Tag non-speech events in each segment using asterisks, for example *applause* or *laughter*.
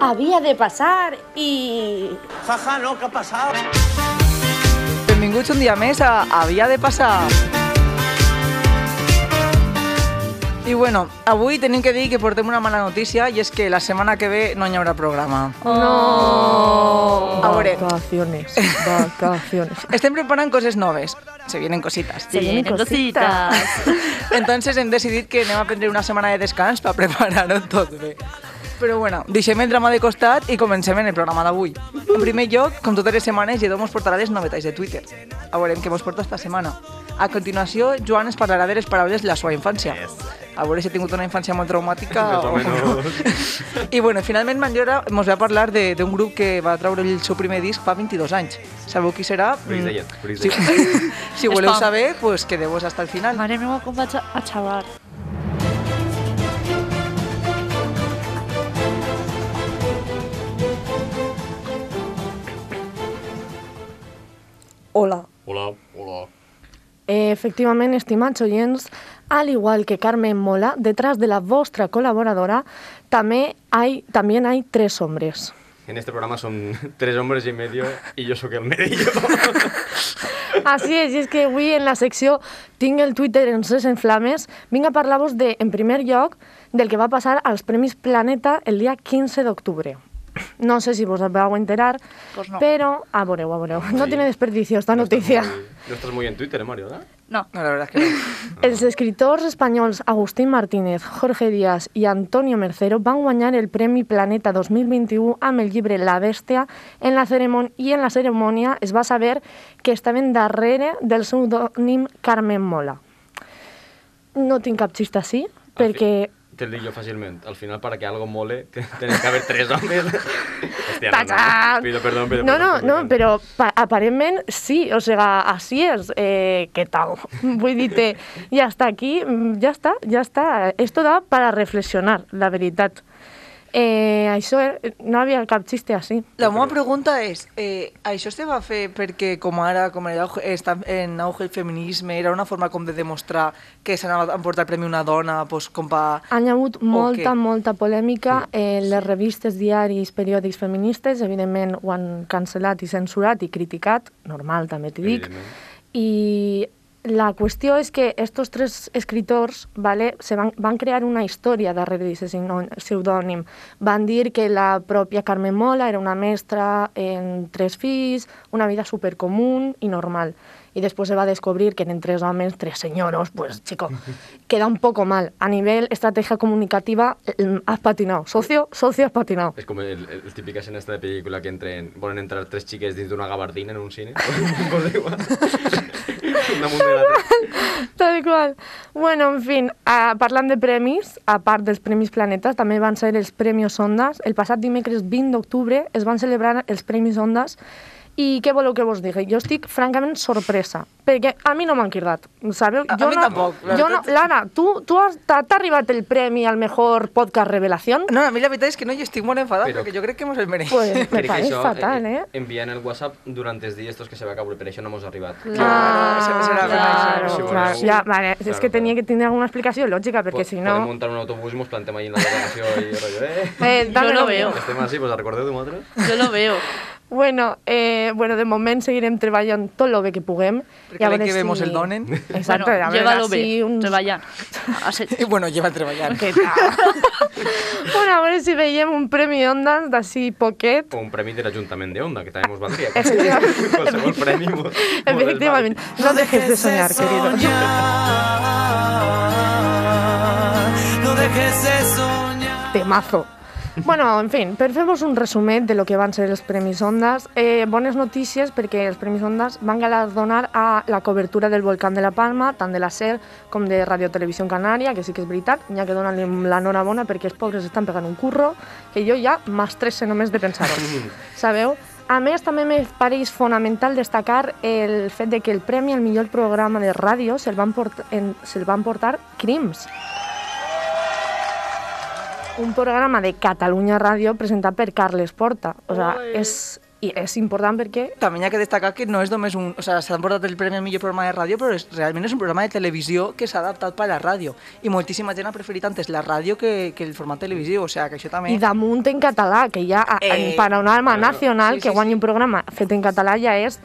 había de pasar y... Jaja, no, ¿qué ha pasado? Benvinguts un dia més a Havia de passar. I bueno, avui tenim que dir que portem una mala notícia i és que la setmana que ve no hi haurà programa. No. Oh. A veure, *laughs* Vacaciones, vacaciones. estem preparant coses noves. Se vienen cositas. Se vienen cositas. *laughs* Entonces hem decidit que anem a prendre una setmana de descans per preparar-ho tot bé. Però bueno, deixem el drama de costat i comencem en el programa d'avui. En primer lloc, com totes les setmanes, Lledó mos portarà les novetats de Twitter. A veurem què mos porta esta setmana. A continuació, Joan ens parlarà de les paraules de la seva infància. A veure si ha tingut una infància molt traumàtica Més o o, menos. I bueno, finalment Manllora mos va parlar de- d'un grup que va treure el seu primer disc fa 22 anys. Sabeu qui serà? Bruce Mm, Dyer, Bruce Si, *laughs* si voleu Spam. saber, pues quedeu-vos hasta el final. Mare meva, com vaig a a xavar. Hola. Hola, hola. Eh, Efectivament, estimats oients, al igual que Carmen Mola, detrás de la vostra col·laboradora també hay, también hay tres hombres. En este programa son tres hombres y medio y yo soy el medio. Així és, i és que avui en la secció Tinc el Twitter encès en flames vinc a parlar-vos, de, en primer lloc, del que va passar als Premis Planeta el dia 15 d'octubre. No sé si vos vau enterar, Pues no. però a veureu, a veureu. No Sí. tiene desperdicio esta No estás noticia. muy- No estás muy en Twitter, eh, Mario, ¿verdad? No. No, la verdad es que no. *laughs* Els escriptors espanyols Agustín Martínez, Jorge Díaz i Antonio Mercero van guanyar el Premi Planeta 2021 amb el llibre La bèstia en la ceremon- i en la cerimònia es va saber que estaven darrere del pseudònim Carmen Mola. No tinc cap xista així, perquè Te lo digo yo fácilmente. Al final, para que algo mole, *laughs* t- tienen que haber tres *laughs* hombres. Hostia, no, no. Tachán. Pido perdón, pido No, no, perdón, no, pido però pa- aparentment sí, o sea, así es, eh, què tal? *laughs* Vull dir-te, ja està aquí, mm, ja està, ja està. Esto da para reflexionar, la veritat. Eh, això eh, no havia cap xiste així. La meva pregunta és, eh, això se va fer perquè com ara, com era, està en auge el feminisme, era una forma com de demostrar que s'anava a emportar el premi una dona, pues, com pa... Han hi hagut molta, què? molta polèmica en les revistes, diaris, periòdics feministes. Evidentment, ho han cancel·lat i censurat i criticat. Normal, també t'hi dic. Evidentment. I la qüestió és que estos tres escriptors vale, se van, van crear una història darrere d'aquest pseudò- pseudònim. Van dir que la pròpia Carmen Mola era una mestra en tres fills, una vida supercomún i normal. I després se va descobrir que eren tres homes, tres senyors, pues chico, queda un poco mal. A nivell estratègia comunicativa eh, has patinado. Socio, socio has patinado. Es como el, el típica escena esta de película que entren, ponen a entrar tres chiques dentro de una gabardina en un *laughs* cine. Pues da igual. Una mundialata. Tal qual. Bueno, en fin, uh, parlant de premis, a part dels Premis Planetes, també van ser els Premis Ondas. El passat dimecres 20 d'octubre es van celebrar els Premis Ondas i què voleu que vos digui? Jo estic francament sorpresa, perquè a mi no m'han cridat, sabeu? A- a jo mi no, tampoc, la Jo no, veritat. Lara, tu, tu has, t'ha t'ha arribat el premi al millor podcast revelació? No, a mi la veritat és que no, jo estic molt enfadada, Però- Però... perquè jo crec que mos el mereix. *laughs* Pues me Crec que pareix això, fatal, eh? Enviant el WhatsApp durant els dies tots que se va acabar, per això no mos ha arribat. Claro, se- se la Ah, claro, reconeixen. claro. Sí. Ja, vale, és Claro, que tenia claro. que tindre alguna explicació lògica, perquè Podemos si no... montar un autobús y nos planteamos ahí en la delegación y rollo, ¿eh? *laughs* Eh, Yo dame lo lo veo. mío. Este más así, pues la recordé de tu madre. Jo lo veo. Bueno, eh, bueno, de moment seguirem treballant tot lo bé que puguem. Perquè l'any que ve mos el donen. Exacte, bueno, a llévalo veure bé, si uns... treballant. A set. *laughs* I bueno, lleva treballant. Què tal? bueno, a veure si veiem un premi Ondas d'ací poquet. O un premio del Ayuntamiento de Onda, que también nos *laughs* valdría. Efectivamente. Qualsevol premi mos- mos Efectivament, desval. no dejes de soñar, queridos. No dejes de soñar. Temazo. Bueno, en fin, per fer-vos un resumet de lo que van ser els Premis Ondas, eh, bones notícies perquè els Premis Ondas van galardonar a la cobertura del volcán de la Palma, tant de la SER com de Radio Televisió Canària, que sí que és veritat, n'hi ha que donar-li l'enhorabona perquè els pobres estan pegant un curro, que jo ja m'estresse només de pensar-ho, sabeu? A més, també me pareix fonamental destacar el fet de que el premi al millor programa de ràdio se'l van, port en- se'l van portar Crims, un programa de Catalunya Ràdio presentat per Carles Porta. O sea, és, i és important perquè També hi ha que destacar que no és només un... O sigui, s'ha portat el Premi al millor programa de ràdio, però és, realment és un programa de televisió que s'ha adaptat per a la ràdio. I moltíssima gent ha preferit antes la ràdio que, que el format televisiu, o sigui, que això també... I damunt en català, que ja a, Eh, eh, per a una arma claro. nacional Sí, que sí, guanyi un programa fet en català ja és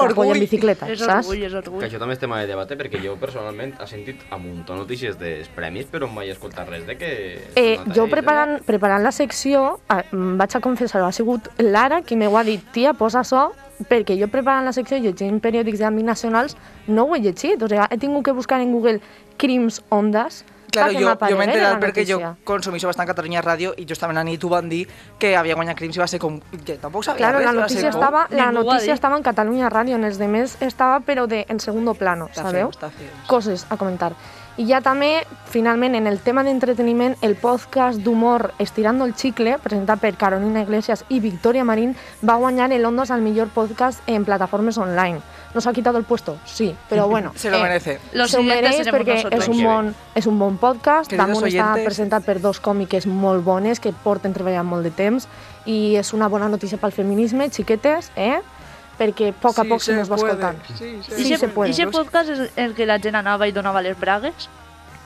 Orgull. orgull en bicicleta, És saps? orgull, és orgull. Que això també és tema de debat, eh? perquè jo personalment he sentit a muntó notícies dels premis, però mai he escoltat res de que... Eh, no t'hagi jo dit, preparant, preparant la secció, eh, em vaig a confessar, ha sigut Lara qui m'ho ha dit, tia, posa això, perquè jo preparant la secció llegint periòdics d'àmbit nacionals no ho he llegit, o sigui, he tingut que buscar en Google crims ondes Claro, jo, perquè jo m'aparegués m'he la enterat perquè jo notícia. consumixo bastant Catalunya Ràdio i justament a nit ho van dir que havia guanyat crims i va ser com... Ja, tampoc sabia Claro, res, la va ser notícia com- estava, la Ningú ho ha noticia dit. estaba en Cataluña Radio, en els demés estava però de, en segundo plano, Està feo, sabeu? està feo. Coses a comentar. I ja també, finalment, en el tema d'entreteniment, el podcast d'humor Estirando el Chicle, presentat per Carolina Iglesias i Victoria Marín, va guanyar el Ondas al millor podcast en plataformes online. ¿Nos ha quitado el puesto? Sí, *laughs* pero bueno. Se lo eh, merece. Los se ho siguientes mereix seremos perquè nosotros. és un, bon, és un bon podcast, Queridos damunt està oyentes. presentat per dos còmiques molt bones que porten treballant molt de temps i és una bona notícia pel feminisme, xiquetes, eh? perquè a poc a Sí, poc se se nos va puede. escoltant. Sí, se Sí, Ixe- se puede. ixe no? podcast és el que la gent anava i donava les bragues,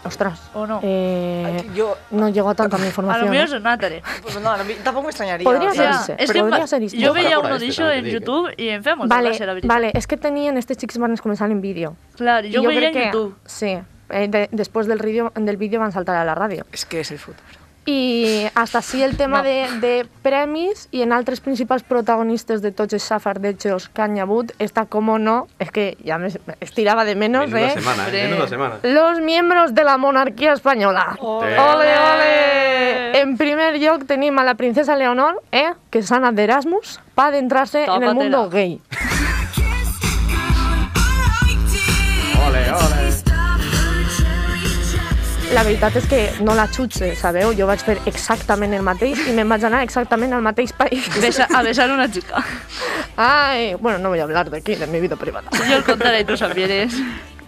Ostres, o no? eh, Jo... no llegó a tanta mi a lo informació. millor ¿no? és un altre. Pues no, no, tampoc m'estranyaria. Podria o sigui, ser. és que podria em va- ser distinto. jo Ojalá veia fuera uno este, d'això també te en dic, eh. YouTube i em feia molt Vale, gràcia, la veritat. vale, és que tenien, estes xics van començar en vídeo. Clar, jo, I veia crec en *laughs* YouTube. Sí, eh, de, després del, vídeo, del vídeo van saltar a la ràdio. És que és el futur. I hasta sí el tema No. de, de premis i en altres principals protagonistes de tots els safardejos que han hi hagut està, com o no, és que ja me- estirava de menos, Menuda eh? semana, Hombre. eh? Menuda semana. Los miembros de la monarquia espanyola. Ole. Ole, ole! En primer lloc tenim a la princesa Leonor, eh? que s'ha anat d'Erasmus, pa d'entrar-se en el Tópatela. mundo gay. Ole, ole. La veritat és que no la xutxe, sabeu? Jo vaig fer exactament el mateix i me'n vaig anar exactament al mateix país. Besa, a besar una chica. *laughs* Ai, bueno, no voy a hablar de aquí, de mi vida privada. Yo os contaré y *laughs* tú supieres.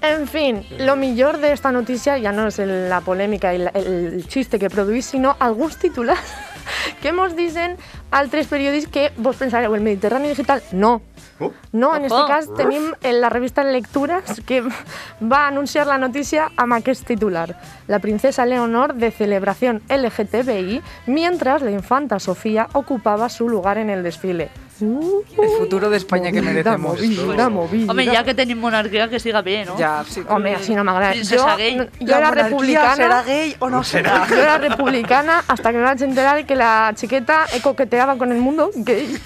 En fin, lo millor de esta noticia ya no es el- la polémica y la- el chiste que produís, sino algunos titulares *laughs* que nos dicen altres periodis que vos pensareu, el Mediterráneo Digital, no. Uh, No, en este Ojo. cas tenim en la revista Lecturas que *laughs* va anunciar la notícia amb aquest titular. La princesa Leonor de celebración LGTBI mientras la infanta Sofía ocupaba su lugar en el desfile. Uh, El futuro de España que merecemos. Movida, movida. Hombre, ya que tenéis monarquía, que siga bien, ¿no? Ja, sí. Home, així no m'agrada. Jo, Princesa gay. no- jo era monarquia republicana, serà gay o no serà? yo era republicana hasta que me vaig enterar que la chiqueta eh, coqueteaba con el mundo gay.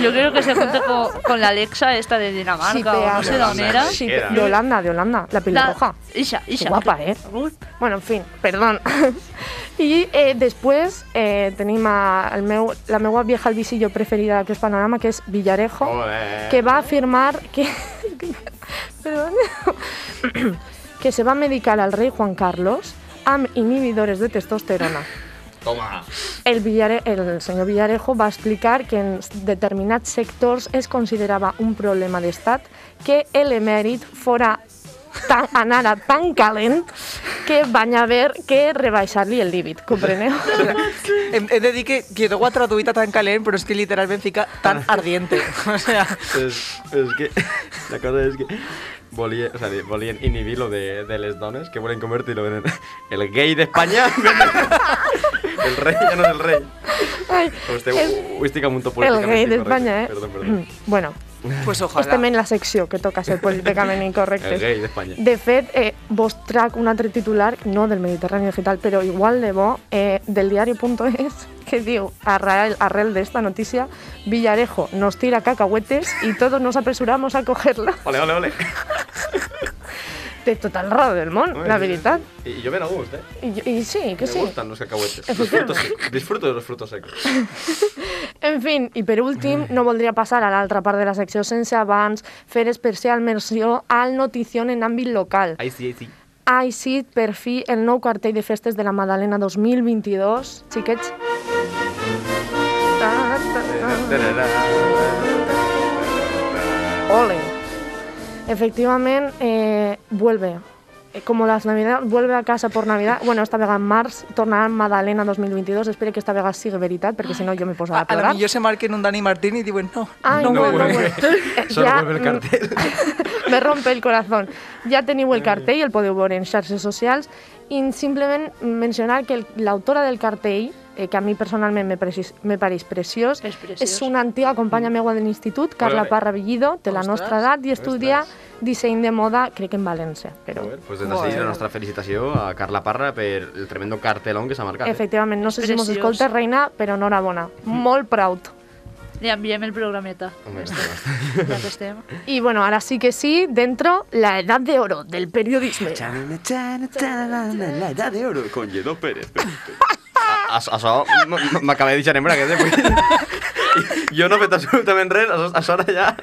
Yo creo que se junte con, con la Alexa esta de Dinamarca o no sé Yolanda, dónde era. sí. de Holanda, de Holanda, la pelirroja. La- Isha, Isha. Guapa, eh? Uy, Bueno, en fin, perdón. *laughs* I eh, després eh, tenim a, el meu, la meva vieja albisillo preferida d'aquest panorama, que és Villarejo, Ole. que va afirmar que... *laughs* perdón, *coughs* que se va a medicar al rei Juan Carlos amb inhibidores de testosterona. Toma. El, Villare, el senyor Villarejo va explicar que en determinats sectors es considerava un problema d'estat que l'emèrit fora tan, anara tan calent que van haver que rebaixar-li el límit, compreneu? Hem, hem de dir que, que ho ha traduït a tan calent, però és que literalment fica tan ardiente. *laughs* O sea, És, és que... *laughs* La cosa és que... Volien, o sigui, volien inhibir lo de, de les dones que volen convertir-lo en el gay d'Espanya. *laughs* el rei, ja no és el este, rei. Ai, Hòstia, el, ho, ho estic a muntó el políticament rei incorrecte. d'Espanya, eh? Perdó, perdó. Bueno, pues ojalá. estem en la secció que toca *laughs* ser políticament El incorrectes. gay d'Espanya. De fet, eh, vos trac un altre titular, no del Mediterrani Digital, però igual de bo, eh, del diari.es, *laughs* que diu, arrel, arrel de esta noticia, Villarejo nos tira cacahuetes y todos nos apresuramos a *laughs* cogerla. Ole, ole, ole. Té tota el raó del món, la veritat. I, i jo ben a gust, eh? I, i sí, que Me sí. gustan los cacahuetes. Los Efectivamente. frutos secos. Disfruto de los frutos secos. En fin, i per Mm. últim, no voldria passar a l'altra part de la secció sense abans fer especial menció al notición en àmbit local. Ahí sí, ahí sí. Ha eixit per fi el nou cartell de festes de la Madalena 2022. Xiquets... Ta, ta, ta. Ole! Efectivament, eh, vuelve eh, como las Navidades, vuelve a casa por Navidad. Bueno, esta vega en març tornarà Madalena 2022. Espero que esta vega sigui veritat, perquè si no jo me A, posaré a a la plorar. millor se marquen un Dani Martín i diuen no, Ai, no, Ah, no, vuelve. no, *laughs* vuelve. Eh, Solo ja, vuelve el mm, *laughs* cartel. me rompe el corazón. Ja teniu el cartell, el podeu veure en xarxes socials, i simplement mencionar que el- l'autora del cartell, eh, que a mi personalment me, precis, me pareix preciós, És preciós. és una antiga companya meua de l'institut, Carla Ole. Parra Villido, de la Ostres. nostra edat, i estudia disseny de moda, crec que en València. Però, Joder, Pues des d'ací Joder. la nostra felicitació a Carla Parra per el tremendo cartelón que s'ha marcat. eh? efectivament, no sé si mos Preciós. escolta, reina, però enhorabona. Molt proud. Li enviem el programeta. Home, Ja que estem. Y bueno, ahora sí que sí, dentro, la edad de oro del periodismo. La edad de oro con Lledó Pérez. *laughs* A- a- Açò m- m- m'acabé de deixar en braques, eh? *laughs* Vull- Jo no he fet absolutament res, a a això ara ja...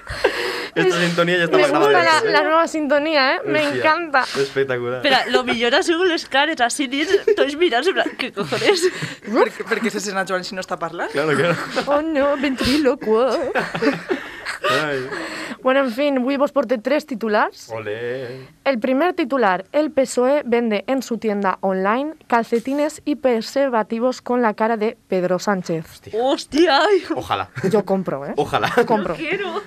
Aquesta sintonia ja està Me gusta gravada. la, la nueva sintonía, ¿eh? Me Hòstia, encanta. Espectacular. Espera, lo millor ha sigut les cares, així dins, tots mirant, en plan, què cojones? *laughs* perquè, perquè se sent a Joan si no està parlant. Claro, claro. *laughs* Oh no, ventriloquo. Ai. Bueno, en fin, avui vos porté tres titulars. Olé. El primer titular, el PSOE E vende en su tienda online calcetines y preservativos con la cara de Pedro Sánchez. Hòstia, ai, Ojalá. Yo compro, ¿eh? Ojalá. *laughs* Compro. quiero.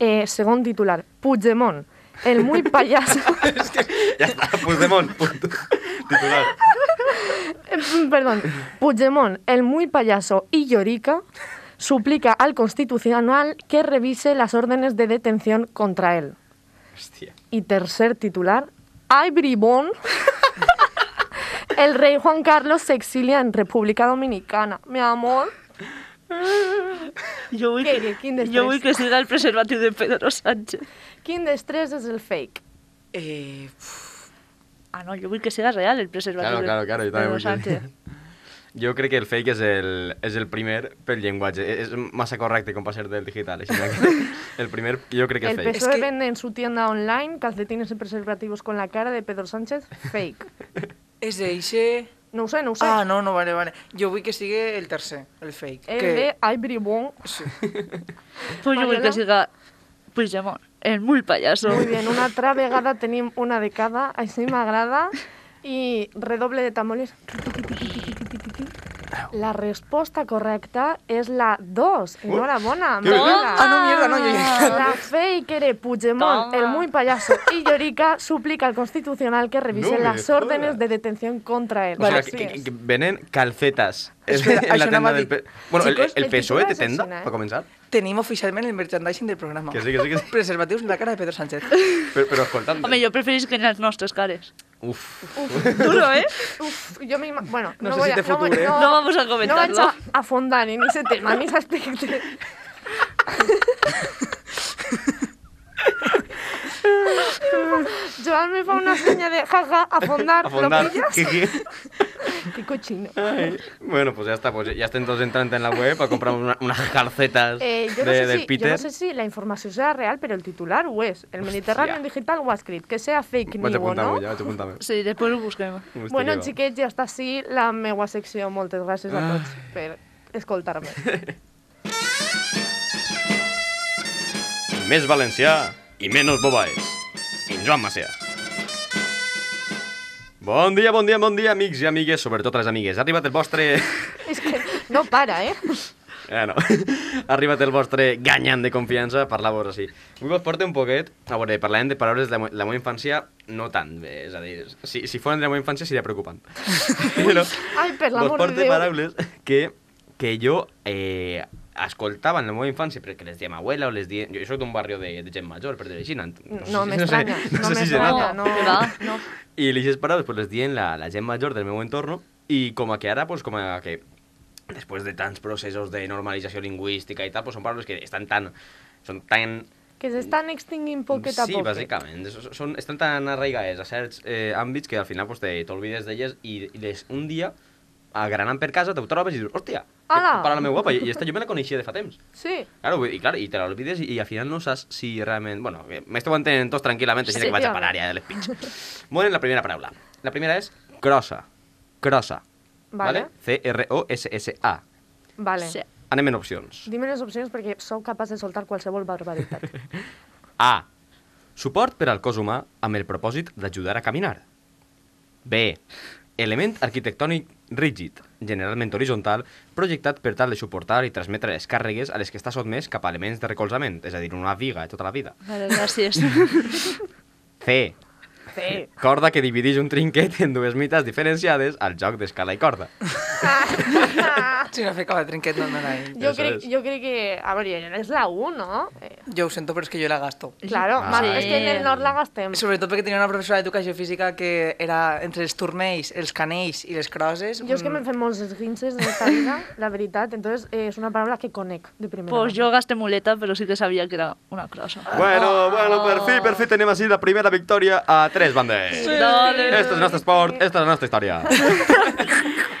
Eh, segundo titular, Puigdemont, el muy payaso... *laughs* Ja està, Puigdemont, punto. Titular. Perdón. Puigdemont, el muy payaso y llorica, suplica al Constitucional que revise las órdenes de detención contra él. Hòstia. Y tercer titular, Ay bribón, el rey Juan Carlos se exilia en República Dominicana. Mi amor, Jo vull, Què, que, què, quin després? jo vull que siga el preservatiu de Pedro Sánchez. ¿quién de estrés es el fake? Eh, uf, Ah, no, jo vull que siga real el preservatiu Claro, de- claro, claro, jo de també Pedro vull que... Sánchez. Jo crec que el fake és el, és el primer pel llenguatge. E, És és massa correcte com per ser del digital. Així que *laughs* el primer, jo crec que El el fake. PSOE Es que- E vende en su tienda online calcetines y preservativos con la cara de Pedro Sánchez fake. és d'eixe... No sé, no sé. Ah, no, no, vale, vale. Jo vull que sigui el tercer, el fake. el que... de Ay bribón. Pues jo vull Mariola? que siga Puigdemont, el muy payaso. Muy bien, una altra vegada tenim una de cada, així m'agrada, i redoble de tambores. La resposta correcta és la 2. Enhorabona, Ah, Manuela. no, mierda, no, jo ja... La fake de Puigdemont, Toma. el muy payaso y Llorica suplica al Constitucional que revise No me las jodas. órdenes de detención contra él. O sea, Así que, que, es. que venen calcetas Espera, en la això anava tenda a del... dir. Pe... Bueno, Chicos, el, el, el PSOE titular té és tenda, assassinar, eh? per començar? *laughs* Tenim oficialment el merchandising del programa. Que sí, que sí, que sí. *laughs* Preservatius en la cara de Pedro Sánchez. Però, però escolta'm... *laughs* Home, jo preferís que en les nostres cares. *laughs* Uf. Ah, Duro, eh? Uf, yo me ima- Bueno, No no, sé voy si a, te no voy- future. No vamos a No comentarlo. vamos a afondar en ese tema, en ese aspecto. Joan me fa una seña de jaja, afondar, Afondar. ¿lo *laughs* pillas? Que, que... Qué cochino. Ai. Bueno, pues ya está, pues ya estén todos entrando en la web a comprar una, unas calcetas Eh, de, yo, no sé del si, yo Peter. no sé si la información será real, pero el titular o es. El Mediterráneo Digital Wascript, que sea fake Vaig news, apuntant-ho ¿no? ja, vaig apuntant-ho. Sí, després ho busquem. Hòstia, que *laughs* Bueno, va. xiquets, ja està així la meua secció. Moltes gràcies a tots Ah. per escoltar-me. *laughs* Més valencià i menys bobaes. En Joan Macià. Bon dia, bon dia, bon dia, amics i amigues, sobretot les amigues. Ha arribat el vostre... És que no para, eh? Eh, no. *laughs* Ha arribat el vostre ganyant de confiança, parlar-vos així. Avui vos porto un poquet, a veure, parlàvem de paraules de la, me- la meva infància, no tant, bé, és a dir, si, si foren de la meva infància seria *laughs* preocupant. Però Ai, per l'amor vos de porto Déu. paraules que, que jo eh, escoltava en la meva infància, perquè les diem abuela o les diem... Jo soc d'un barri de, de gent major, per dir així, no, sé No, si- *laughs* m'estranya, sé- no, sé si se m'estranya, no. nota. Que va. no. I aquestes paraules pues, les dient la, la gent major del meu entorn i com a que ara, pues, com a que després de tants processos de normalització lingüística i tal, pues, són paraules que estan tan... Són tan Que s'estan extinguint poquet a sí, poquet. bàsicament. S- Són, estan tan arraigades a certs eh, àmbits que al final pues, te- t'olvides d'elles i, i les, un dia, agranant per casa, te ho trobes i dius, hòstia, que Ala! para la meva guapa, i, i esta jo me la coneixia de fa temps. Sí, Claro, vull- i clar, i te l'olvides i, i al final no saps si realment... Bueno, eh, m'esteu entenent tots tranquil·lament, així Sí, que vaig a tio. parar ja de les pitjors. Bueno, la primera paraula. La primera és crossa. Crossa. Vale. C-R-O-S-S-A. vale. Sí. Anem en opcions. *laughs* Dime les opcions perquè sou capaç de soltar qualsevol barbaritat. A. Suport per al cos humà amb el propòsit d'ajudar a caminar. B. Element arquitectònic rígid, generalment horitzontal, projectat per tal de suportar i transmetre les càrregues a les que està sotmès cap a elements de recolzament, és a dir, una viga tota la vida. Vale, gràcies. C. C. Corda que divideix un trinquet en dues mites diferenciades al joc d'escala i corda. *laughs* Si no fer com a trinquet no eh. anarà ahí. Ah. Yo Eso creo, es. yo creo que, a ver, es la U, ¿no? Eh, Jo ho sento, però és que jo la gasto. claro, Ah, más- sí. es que en el nord la gastem. Sobretot perquè tenia una professora d'educació física que era entre els turmells, els canells i les crosses. mm, Jo és que m'he fet molts esguinces en esta vida, *laughs* la veritat. Entonces, eh, és una paraula que conec de primera. Pues yo gasté muleta, pero sí que sabía que era una crossa. Bueno, bueno, per fi, per fi tenim així la primera victòria a tres bandes. Dale. Este és el nostre esport, esta és la *laughs* nostra història.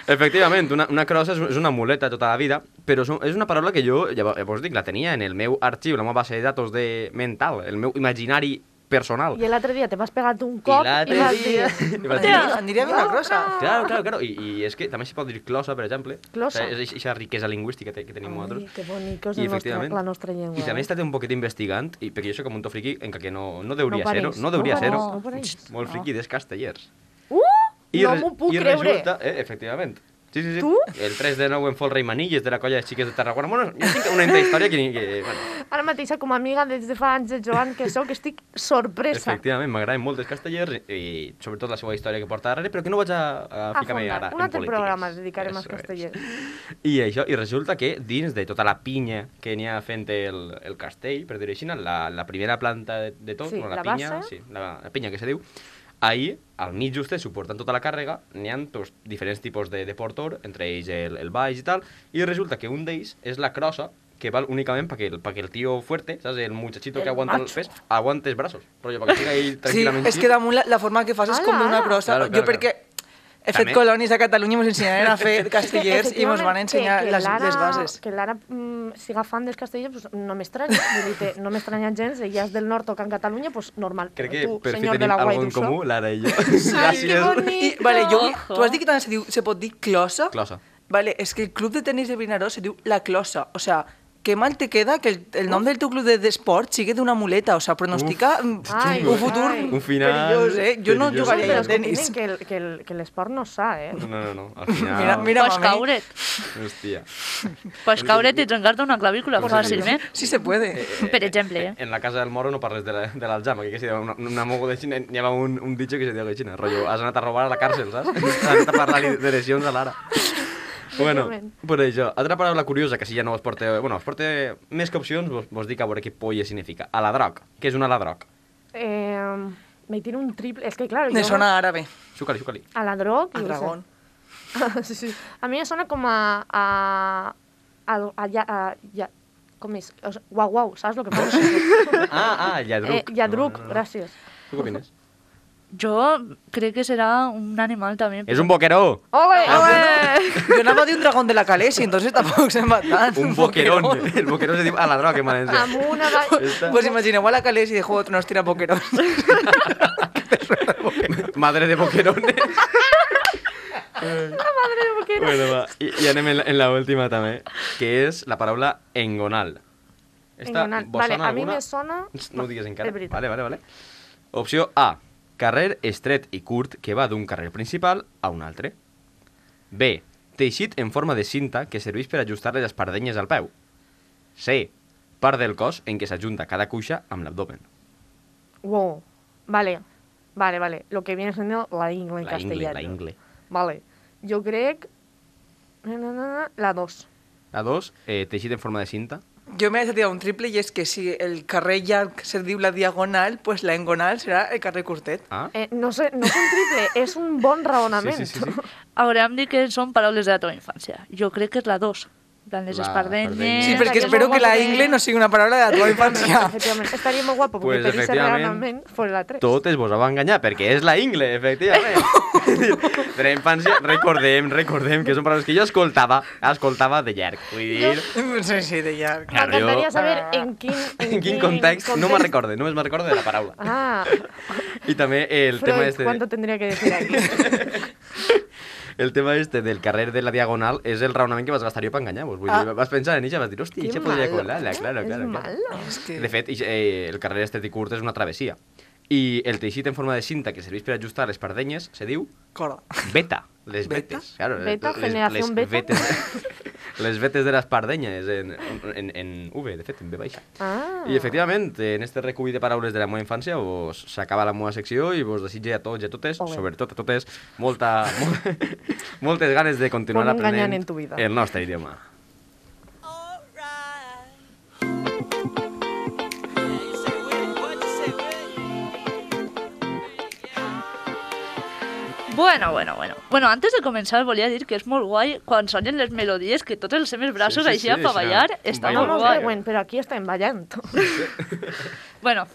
Efectivament, una, una crossa és, és una muleta tota la vida, però és un- és una paraula que jo, llavors, llavors dic, la tenia en el meu arxiu, la meva base de datos de mental, el meu imaginari personal. I l'altre dia te vas pegat un cop l'altre i vas dia- dir... i vaig dir, Aniria, aniria bé una crossa. Claro, claro, claro. I, I és que també s'hi pot dir closa, per exemple. Ah. Closa. O sigui, És aquesta riquesa lingüística que, que tenim Ai, nosaltres. que bonic, és I el nostre- efectivament- la nostra llengua, I també eh? he estat un poquet investigant, i, perquè jo soc com un to friqui en que no, no deuria No ser-ho. pareix, No deuria no ser-ho. pareix, no pareix. Molt friqui dels castellers. *laughs* Uh! no res- m'ho puc i creure. Resulta, eh, efectivament. Sí, sí, sí. Tu? El 3 de 9 en Folre i Manilles de la colla de xiques de Tarragona. Bueno, jo tinc una enta història que... que bueno, Ara mateix, com a amiga des de fa anys de Joan que sóc, estic sorpresa. efectivament, m'agraden molt els castellers eh, i sobretot la seva història que porta darrere, però que no vaig a, a A ficar-me fondar. ara Un en altre polítiques. programa dedicarem als Eso és. castellers. *laughs* I això, i resulta que dins de tota la pinya que n'hi ha fent el, el castell, per dir així, la, la primera planta de, de tot, Sí, no, la, la pinya, bassa. sí, la, la pinya que se diu, ahí, al mig justet, suportant tota la càrrega, n'hi ha dos, diferents tipus de, de portor, entre ells el, el baix i tal, i resulta que un d'ells és la crossa, que val únicament perquè el, perquè el tio fuerte, saps, el muchachito que aguanta el macho. pes, aguante els braços, rotllo, perquè siga ell Sí, tranquil·lament. és que damunt la, la forma que fas és com Ala, d'una ala. crossa. Claro, Jo claro, perquè he fet També. colònies a Catalunya i mos ensenyaven *laughs* a fer castellers i mos van Efectivament, ensenyar que- que les, l'Ara- les bases. Que l'Ara mm, siga fan dels castellers, pues, no m'estranya. Vull dir, que no m'estranya gens, ella és del nord, toca en Catalunya, pues, normal. Crec que Però tu, per fi senyor de tenim la alguna Guai en d'Ussó, comú, l'Ara i jo. que bonic. I, vale, jo, Ojo. tu has dit que també se, diu, se pot dir closa? Closa. Vale, és que el club de tenis de Vinaròs se diu La Closa. O sea, que mal te queda que el, el nom del teu club de- d'esport sigui d'una muleta. O sea, pronostica mm, Ai, un futur ai. Un final perillós, eh? Jo no perillós. Sí, jugaria però al tenis. escoltin, que, el- que, el- que l'esport no s'ha, eh? No, no, no, al final... Mira, mira, Pots mami. caure't. Hòstia. Pots caure't i trencar-te una clavícula fàcilment. Sí se puede. Per exemple, eh? En la casa del moro no parles de la- de l'Aljama, que, que si una, una mogo de Xina, n'hi ha un, un ditxo que se diu de Xina, rotllo, has anat a robar a la càrcel, saps? *laughs* has anat a parlar de lesions a l'ara. Bueno, per això, altra paraula curiosa, que si ja no us porta... Bueno, us porta més que opcions, vos, vos dic a veure què polla significa. Aladroc. Què és un aladroc? eh me tiro un triple... És que, clar, Me jo- sona àrabe. Xuca-li, xuca-li. A la drog... A jo què sé. dragón. sí, sí. A mi em sona com a... a, a, a, ja- a, ja- com és? O sigui, Uau, uau, saps el que *laughs* passa? Ah, ah, lladruc. eh, lladruc, gràcies. Tu què opines? Jo crec que serà un animal també. És un *laughs* boqueró! Ole, Ah, ole! Yo nada más de un dragón de la Calesi, entonces tampoco se matan. Un boquerón. El boqueró se diu aladroc, en valencià. Amb una... Va... Esta- Pues imagineu a la Calesi de Juego de Tronos tira boquerón. *laughs* Madre de boquerones. Madre, de boquera. Bueno, va. I, i anem en la, en la última també, que és la paraula engonal. Engonal. vos Vale, sona a mi alguna? me sona- No ho digues encara. és veritat. Vale, vale, vale. Opció A. Carrer estret i curt que va d'un carrer principal a un altre. B. Teixit en forma de cinta que serveix per ajustar les espardenyes al peu. C. Part del cos en què s'ajunta cada cuixa amb l'abdomen. Wow. Vale, vale, vale. Lo que viene siendo la ingle en La ingle, castellano. la ingle. Vale. Yo creo... que- Na, na, na, na, La dos. La 2. Eh, teixit en forma de cinta. Yo me he tirado un triple y es que si el carrer ya se dio la diagonal, pues la engonal será el carrer curtet. Ah. Eh, no sé, no és un *laughs* triple, és un bon raonament. sí, sí, *laughs* sí. sí. A veure, em dic que són paraules de la teva infància. Jo crec que és la 2. Les La espardenyes... espardenyes. Sí, Eh, porque estaría espero muy que la guapo que- ingle no sigui una paraula de la teva *laughs* infància. Efectivament, estaria molt guapo, Pues, perquè pues, per ser efectivament, raonament fos la 3. Totes vos vau enganyar, perquè és la ingle, *laughs* efectivament. per infància, recordem, recordem que són paraules que jo escoltava, escoltava de llarg. Vull dir, No sé si de llarg. Claro, jo- M'encantaria saber en *laughs* quin, en quin context, no me'n recordo, només me'n recordo de la paraula. Ah, I també *laughs* el Freud, tema este... ¿cuánto *laughs* De... tendría que decir aquí? el tema este del carrer de la Diagonal és el raonament que vas gastar jo per enganyar-vos. Vull dir, vas pensar en ella, vas dir, hòstia, Que això podria malo, colar-la, claro, claro. claro. És que... De fet, ixe- eh, el carrer estètic curt és una travessia. I el teixit en forma de cinta que serveix per ajustar les pardenyes se diu Corda. Beta, les Beta? betes. Claro, Beta, les, generación les beta. *laughs* Vetes, les vetes de las pardeñas, en, en, en V, de fet, en V baixa. Ah. I efectivament, en este recull de paraules de la meva infància vos s'acaba la meva secció i vos desitge a tots i a totes, Ole. sobretot a totes, molta, mol, *laughs* moltes ganes de continuar Bon enganyant aprenent en tu vida. el nostre idioma. Bueno, bueno, bueno. Bueno, antes de començar volia dir que és molt guai quan sonen les melodies que tots els seus braços Sí, sí, així sí, a sí, ballar. sí. Està Baila. No, molt no, guai. pero bueno, pero aquí está en Vallant. Bueno,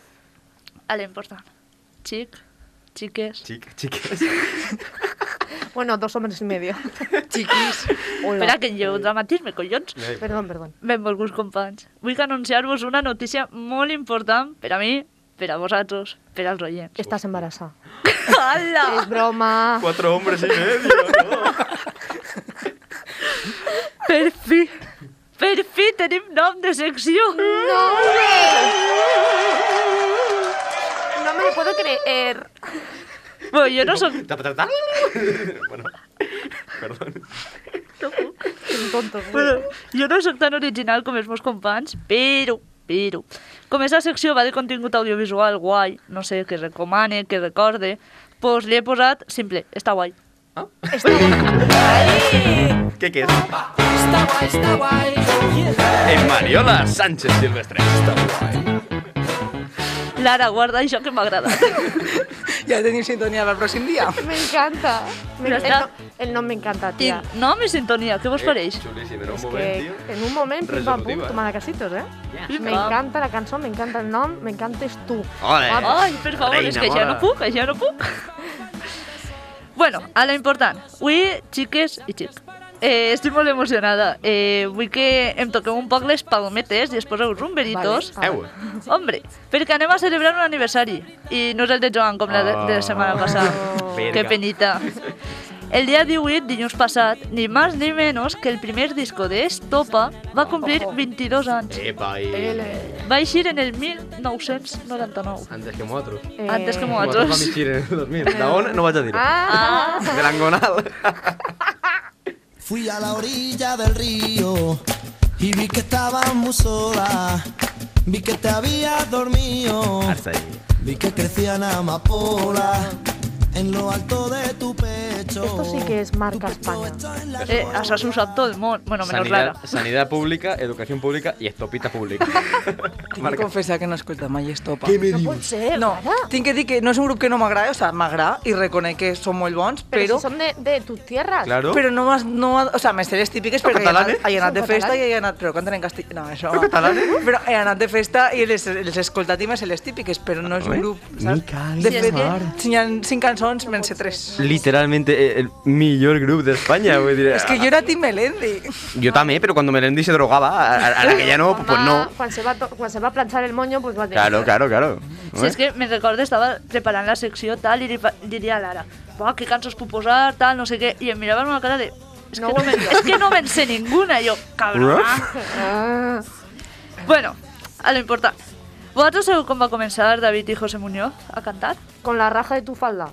a l'important. Xic, xiques... Xic, xiques. *laughs* *laughs* Bueno, dos hombres y medio. *laughs* *laughs* Chiquis. Hola. Espera, que llevo dramatisme, collons. Perdón, perdón. Benvolguts companys. Vull anunciar-vos una notícia molt important per a mi, per a vosaltres, per als *laughs* oients. Estás embarazada. Hola! Es broma. Cuatro hombres y medio. *laughs* Per fi! Per fi tenim nom de secció! No! No me lo puedo creer. Bueno, jo no sóc... Ta, ta, *laughs* ta. bueno, perdón. Son tontos. güey. Bueno, jo no sóc tan original com els meus companys, però, però... Com aquesta secció va de contingut audiovisual guai, no sé, que recomane, que recorde, doncs li he posat simple, està guai. ¿Qué qué es? En Mariola Sánchez Silvestre. Lara, guarda això que m'ha agradat. Ja tenim sintonia pel pròxim dia. Me encanta. Me- Pero el, está- no, el no me encanta, tía. Tinc nom i sintonia, Eh, què vos pareix? Chulísimo, era un Es moment, que tío. en un momento pim pam pum, Resolutiva. toma la casitos, ¿eh? Pim, Me pam. encanta la canción, me encanta el nom, me encantes tú. Ole. Ai, per favor, Reina és que ja mora. no puc, ja no puc. *laughs* Bueno, a la important. Avui, xiques i xic, eh, estic molt emocionada. Eh, vull que em toqueu un poc les palmetes i es poseu rumberitos. Vale. Heu. Hombre, perquè anem a celebrar un aniversari. I no és el de Joan, com la de, de Ah. la setmana passada. Oh. Que Verga. penita. El dia 18, dilluns passat, ni més ni menys que el primer disco d'Estopa va complir Oh. 22 anys. Eh. Epa, y... Va eixir en el 1999. Antes que otro. Eh, Antes que Como otro va a nosaltres. mixir en el 2000. Daon no vaig a dir. Ah, De l'Angonal. Fui a la orilla del río y vi que estabas muy sola. Vi que te habías dormido. Hasta ahí. Vi que crecían amapolas en lo alto de tu pecho. esto sí que es marca España. Eh, això s'ho sap tot el món. Bueno, menys Lara. Sanidad, sanidad pública, educación pública y estopita pública. *laughs* Tinc que confessar que no he escoltat mai Estopa. No puede ser, No, Clara. tinc que dir que no és un grup que no m'agrada, o sigui, m'agrada i reconec que són molt bons, Pero, però... si son de, de tus tierras. Claro. Però no, m'has- no, m'ha- o sigui, me sé les típiques perquè he catalanes? anat, he anat de Són festa i catalanes? he anat... Però canten en castellà... No, això... Però he anat de festa i les, les he escoltat i me sé les típiques, però no és un grup, saps? De Sí, és fet, que- si hi ha cinc cançons, me'n sé tres. Literalmente eh, el mejor grupo de España. És que jo era Tim Melendi. Yo también, pero cuando Melendi se drogaba, a, a la que ya no, pues Mamá, no. Cuando se, va a to- cuando se va a planchar el moño, pues va a tener. Claro, claro, claro. Si Eh? és que me'n recordo, estava preparant la secció tal i li, pa- li diria a Lara Buah, què cançons puc posar, tal, no sé què I em mirava amb una cara de és que No no, ho me- entenc. és que no me'n sé ninguna I jo, cabrona Ah, Bueno, a lo important Vosaltres sabeu com va començar David i José Muñoz a cantar? con la raja de tu *laughs* falda.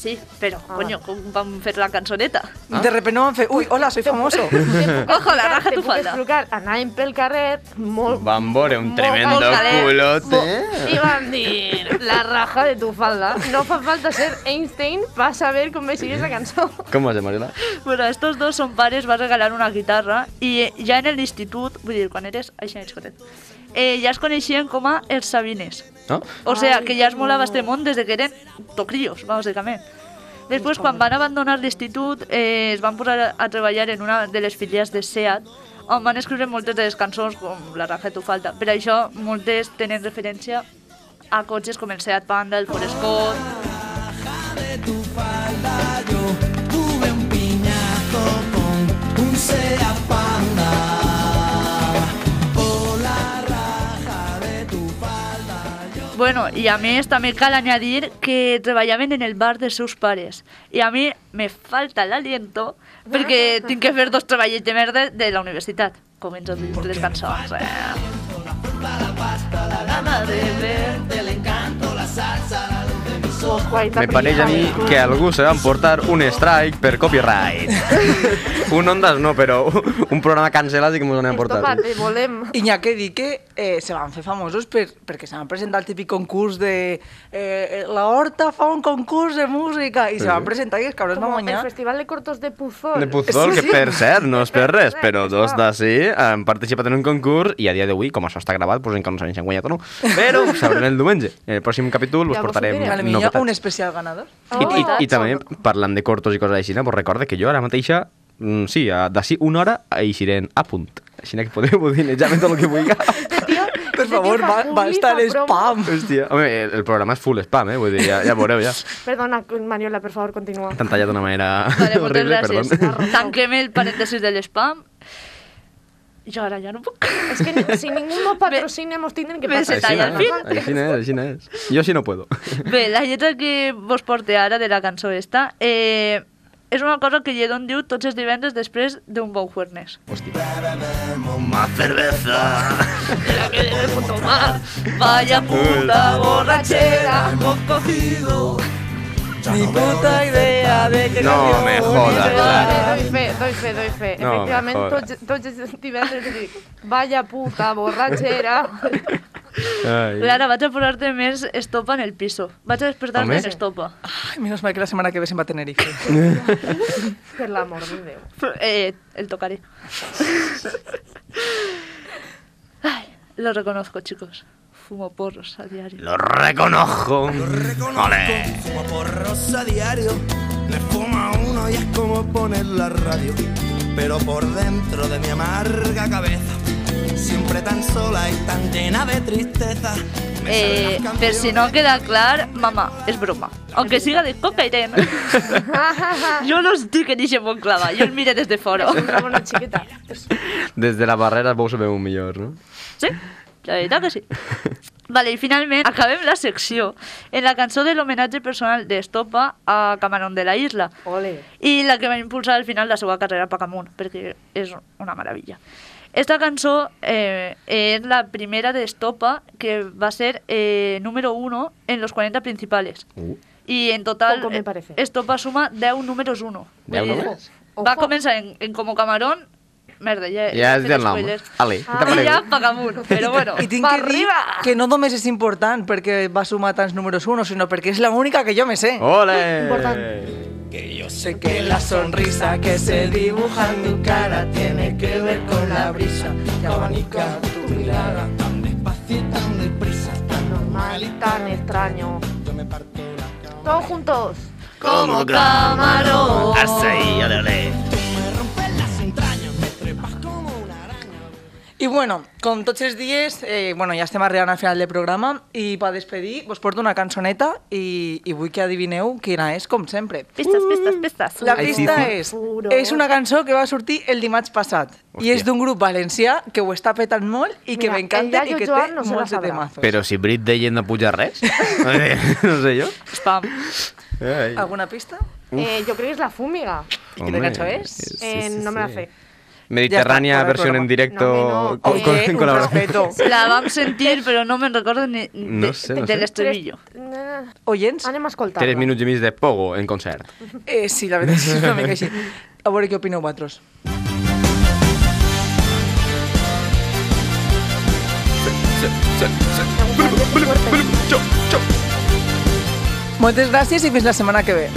Sí, però, Ah. coño, com van fer la cançoneta? De repente no van fer... Ui, hola, soy famoso. *laughs* Ojo, la raja de tu falda explicar a Naim pel carrer, molt... Bambore, un molt tremendo calent, culote. molt- I van dir, la raja de tu falda. No fa falta ser Einstein per saber com ve seguir la cançó. ¿Cómo vas de Mariola? *laughs* Bueno, estos dos son pares, va regalar una guitarra i eh, ja en l'institut, vull dir, quan eres així en escotet, eh, ja es coneixien com a els Sabines. ¿No? O sea, que ja es molava este món des de que eren tocrillos, bàsicament. Després, quan van abandonar l'institut, eh, es van posar a treballar en una de les filials de SEAT, on van escriure moltes de les cançons, com La raja tu falta. Per això, moltes tenen referència a cotxes com el SEAT Panda, el Ford Escort... de tu falda yo tuve un piñazo con un sea panda. O la raja de tu falda yo. Bueno, bueno, i a més també cal añadir que treballaven en el bar dels seus pares. I a mi me falta l'aliento perquè tinc que fer dos treballs de merda de la universitat. Començo a dir les cançons. Eh? Me pareix a mi que algú se va emportar un strike per *laughs* copyright. un Ondas no, però un programa cancel·lat i que mos n'hem portat. Estopa, te volem. Iñaki dir que eh, se van fer famosos per, perquè se van presentar el típic concurs de eh, la Horta fa un concurs de música i se van presentar i els cabrons van Como el guanyar. Festival de Cortos de Puzol. De Puzol, que per cert, no és per res, però dos de... d'ací han participat en un concurs i a dia d'avui, com això està gravat, doncs encara no sabem si han guanyat o no, però ho sabrem el diumenge. En el pròxim capítol us Ja vos ho portarem diré. A la millor un novetats. especial ganador. Oh I, i, I també, parlant de cortos i coses així, no? pues recorda que jo ara mateixa, mm, sí, a- d'ací una hora, eixiré a punt. Així que podeu odinejar-me tot el que vulgui. Per favor, va, va estar spam. Hòstia, home, el, el programa és full spam, eh? Vull dir, ja, ja veureu, ja. Perdona, Mariola, per favor, continua. T'han tallat d'una manera Vale, moltes horrible, gràcies. perdó. Tanquem el parèntesis de l'espam. Jo ara ja no puc. Es *laughs* que ni- si ningún nos patrocina, nos tienen que me pasar. se talla no al fin. és, així no és, així no és. Jo sí no puedo. Bé, la lletra que vos porte ara de la cançó esta eh, és una cosa que Lledon diu tots els divendres després d'un bon juernes. Más cerveza. Vaya puta borrachera. Ni puta idea de que No canción me bonita. jodas, Clara. Doy fe, doy fe, doy fe. No, Efectivament, mejor. tots, tots els divendres dic, vaya puta borratxera. *laughs* Ai. Clara, vaig a posar-te més estopa en el piso. Vaig a despertar-te Home. en estopa. *laughs* Ai, menos mal que la setmana que ve se'n va a Tenerife. per l'amor de Déu. Eh, el tocaré. Ay, lo reconozco, chicos. Fumo porros a diario. Lo reconozco. Ole. Como porros a diario, me fuma uno y es como poner la radio. Pero por dentro de mi amarga cabeza, siempre tan sola y tan llena de tristeza. me salen Eh, las pero si no canciones queda claro, mamá, es broma. Aunque siga de coca Irene. yo no estoy que dice Monclava, yo el mire *laughs* desde foro. Una bona xiqueta. Des de la barrera vau saber un millor, no? Sí, la veritat que sí. Vale, i finalment acabem la secció en la cançó de l'homenatge personal d'Estopa a Camarón de la Isla. Ole. i la que va impulsar al final la seva carrera a amunt, perquè és una meravella. Esta cançó eh, és la primera d'Estopa que va ser eh, número 1 en los 40 principales. Uh. I en total Poco me eh, parece. Estopa suma 10 números 1. Deu números? Va Ojo. començar en, en Como Camarón, merda, ja, Ja has he dit fet el nom. spoilers. Ale, Ah. te I prego. ja Pacamunt, però bueno, I tinc va que dir arriba! que no només és important perquè va sumar tants números 1, sinó perquè és l'única que jo me sé. Ole! Important. que yo sé Sé que la sonrisa que se dibuja en mi cara tiene que ver con la brisa que abanica tu mirada. tan despacio y tan deprisa, tan normal y Tan extraño. yo me parto la cara. Todos juntos. Como camarón. Así, ole, ole. Me rompes las entrañas, me trepas como una araña. I bueno, com tots els dies, eh, bueno, ja estem arribant al final del programa i per despedir vos porto una cançoneta i, i vull que adivineu quina és, com sempre. Pistes, pistes, Uh. pistes. La Ai, pista sí, sí. és, Puro. és una cançó que va sortir el dimarts passat i Hòstia. és d'un grup valencià que ho està petant molt i que Mira, m'encanta el i Yayo que té Joan no se la molts de sabrà. temazos. Però si Brit de Llet no puja res, *laughs* no sé jo. Spam. Ai. Ah, Alguna pista? Eh, jo crec que és la fúmiga. I quina cançó és? Eh, no me la sé. Mediterránea, Ja està, versión en programa. directo, No, no, con, eh, Oh, con- un con la respeto. La vam sentir, però no me'n recordo ni de, No sé, no de sé. l'estribillo. Tres- Oients, Anem a escoltar. 3 minuts i mig de pogo en concert. Eh, sí, la veritat és que és una *laughs* mica així. A veure què opineu vosaltres. Moltes gràcies i fins la setmana que ve.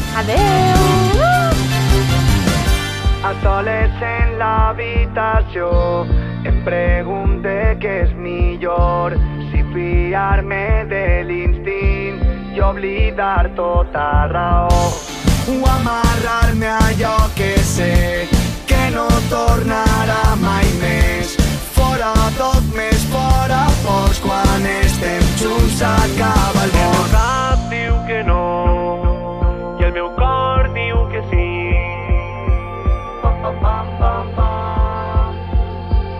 a soles en la habitación. Em pregunté qué es millor, si fiarme del instinto y oblidar tota raó. O amarrar-me a allò que sé que no tornarà mai més. Fora tot més fora pocs quan estem junts acaba el món. cap diu que no i el meu cor diu que sí. Pam, pam, pam, pam, pam.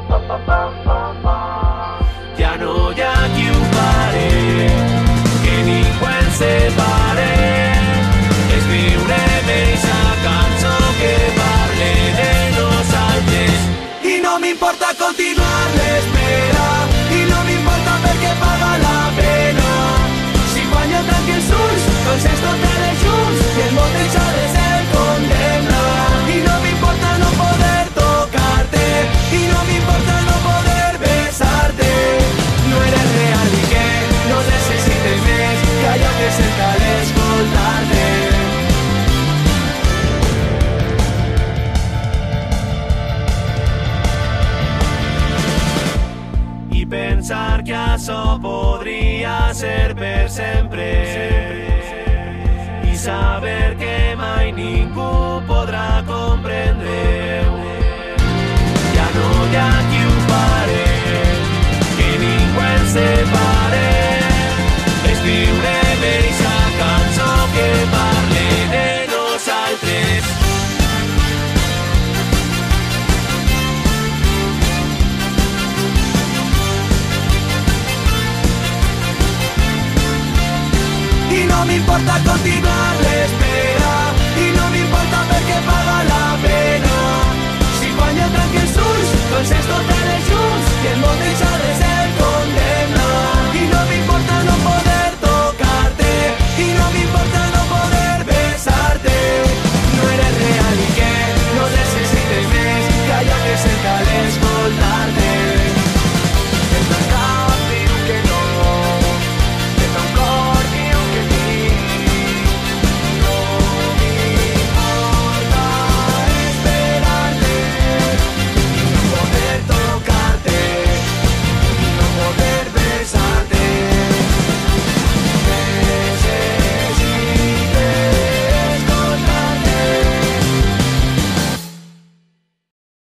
Pam, pam, pam, pam, pam. Ja no hi ha qui ho pare, continuar la espera i no m'importa perquè paga la pena. Si guanyo trenqui els ulls, doncs és tot de les llums i el món deixa de ser condemna. I no m'importa no poder tocarte i no m'importa no poder besarte. No eres real i que no necessites més que allò que cerca d'escoltar-te. y pensar que eso podría ser per siempre y saber que mai ningú podrà comprendre ja no hi ha qui ho pare que ningú ens separe és viure bé sa cançó que parle de nosaltres y no me importa continuar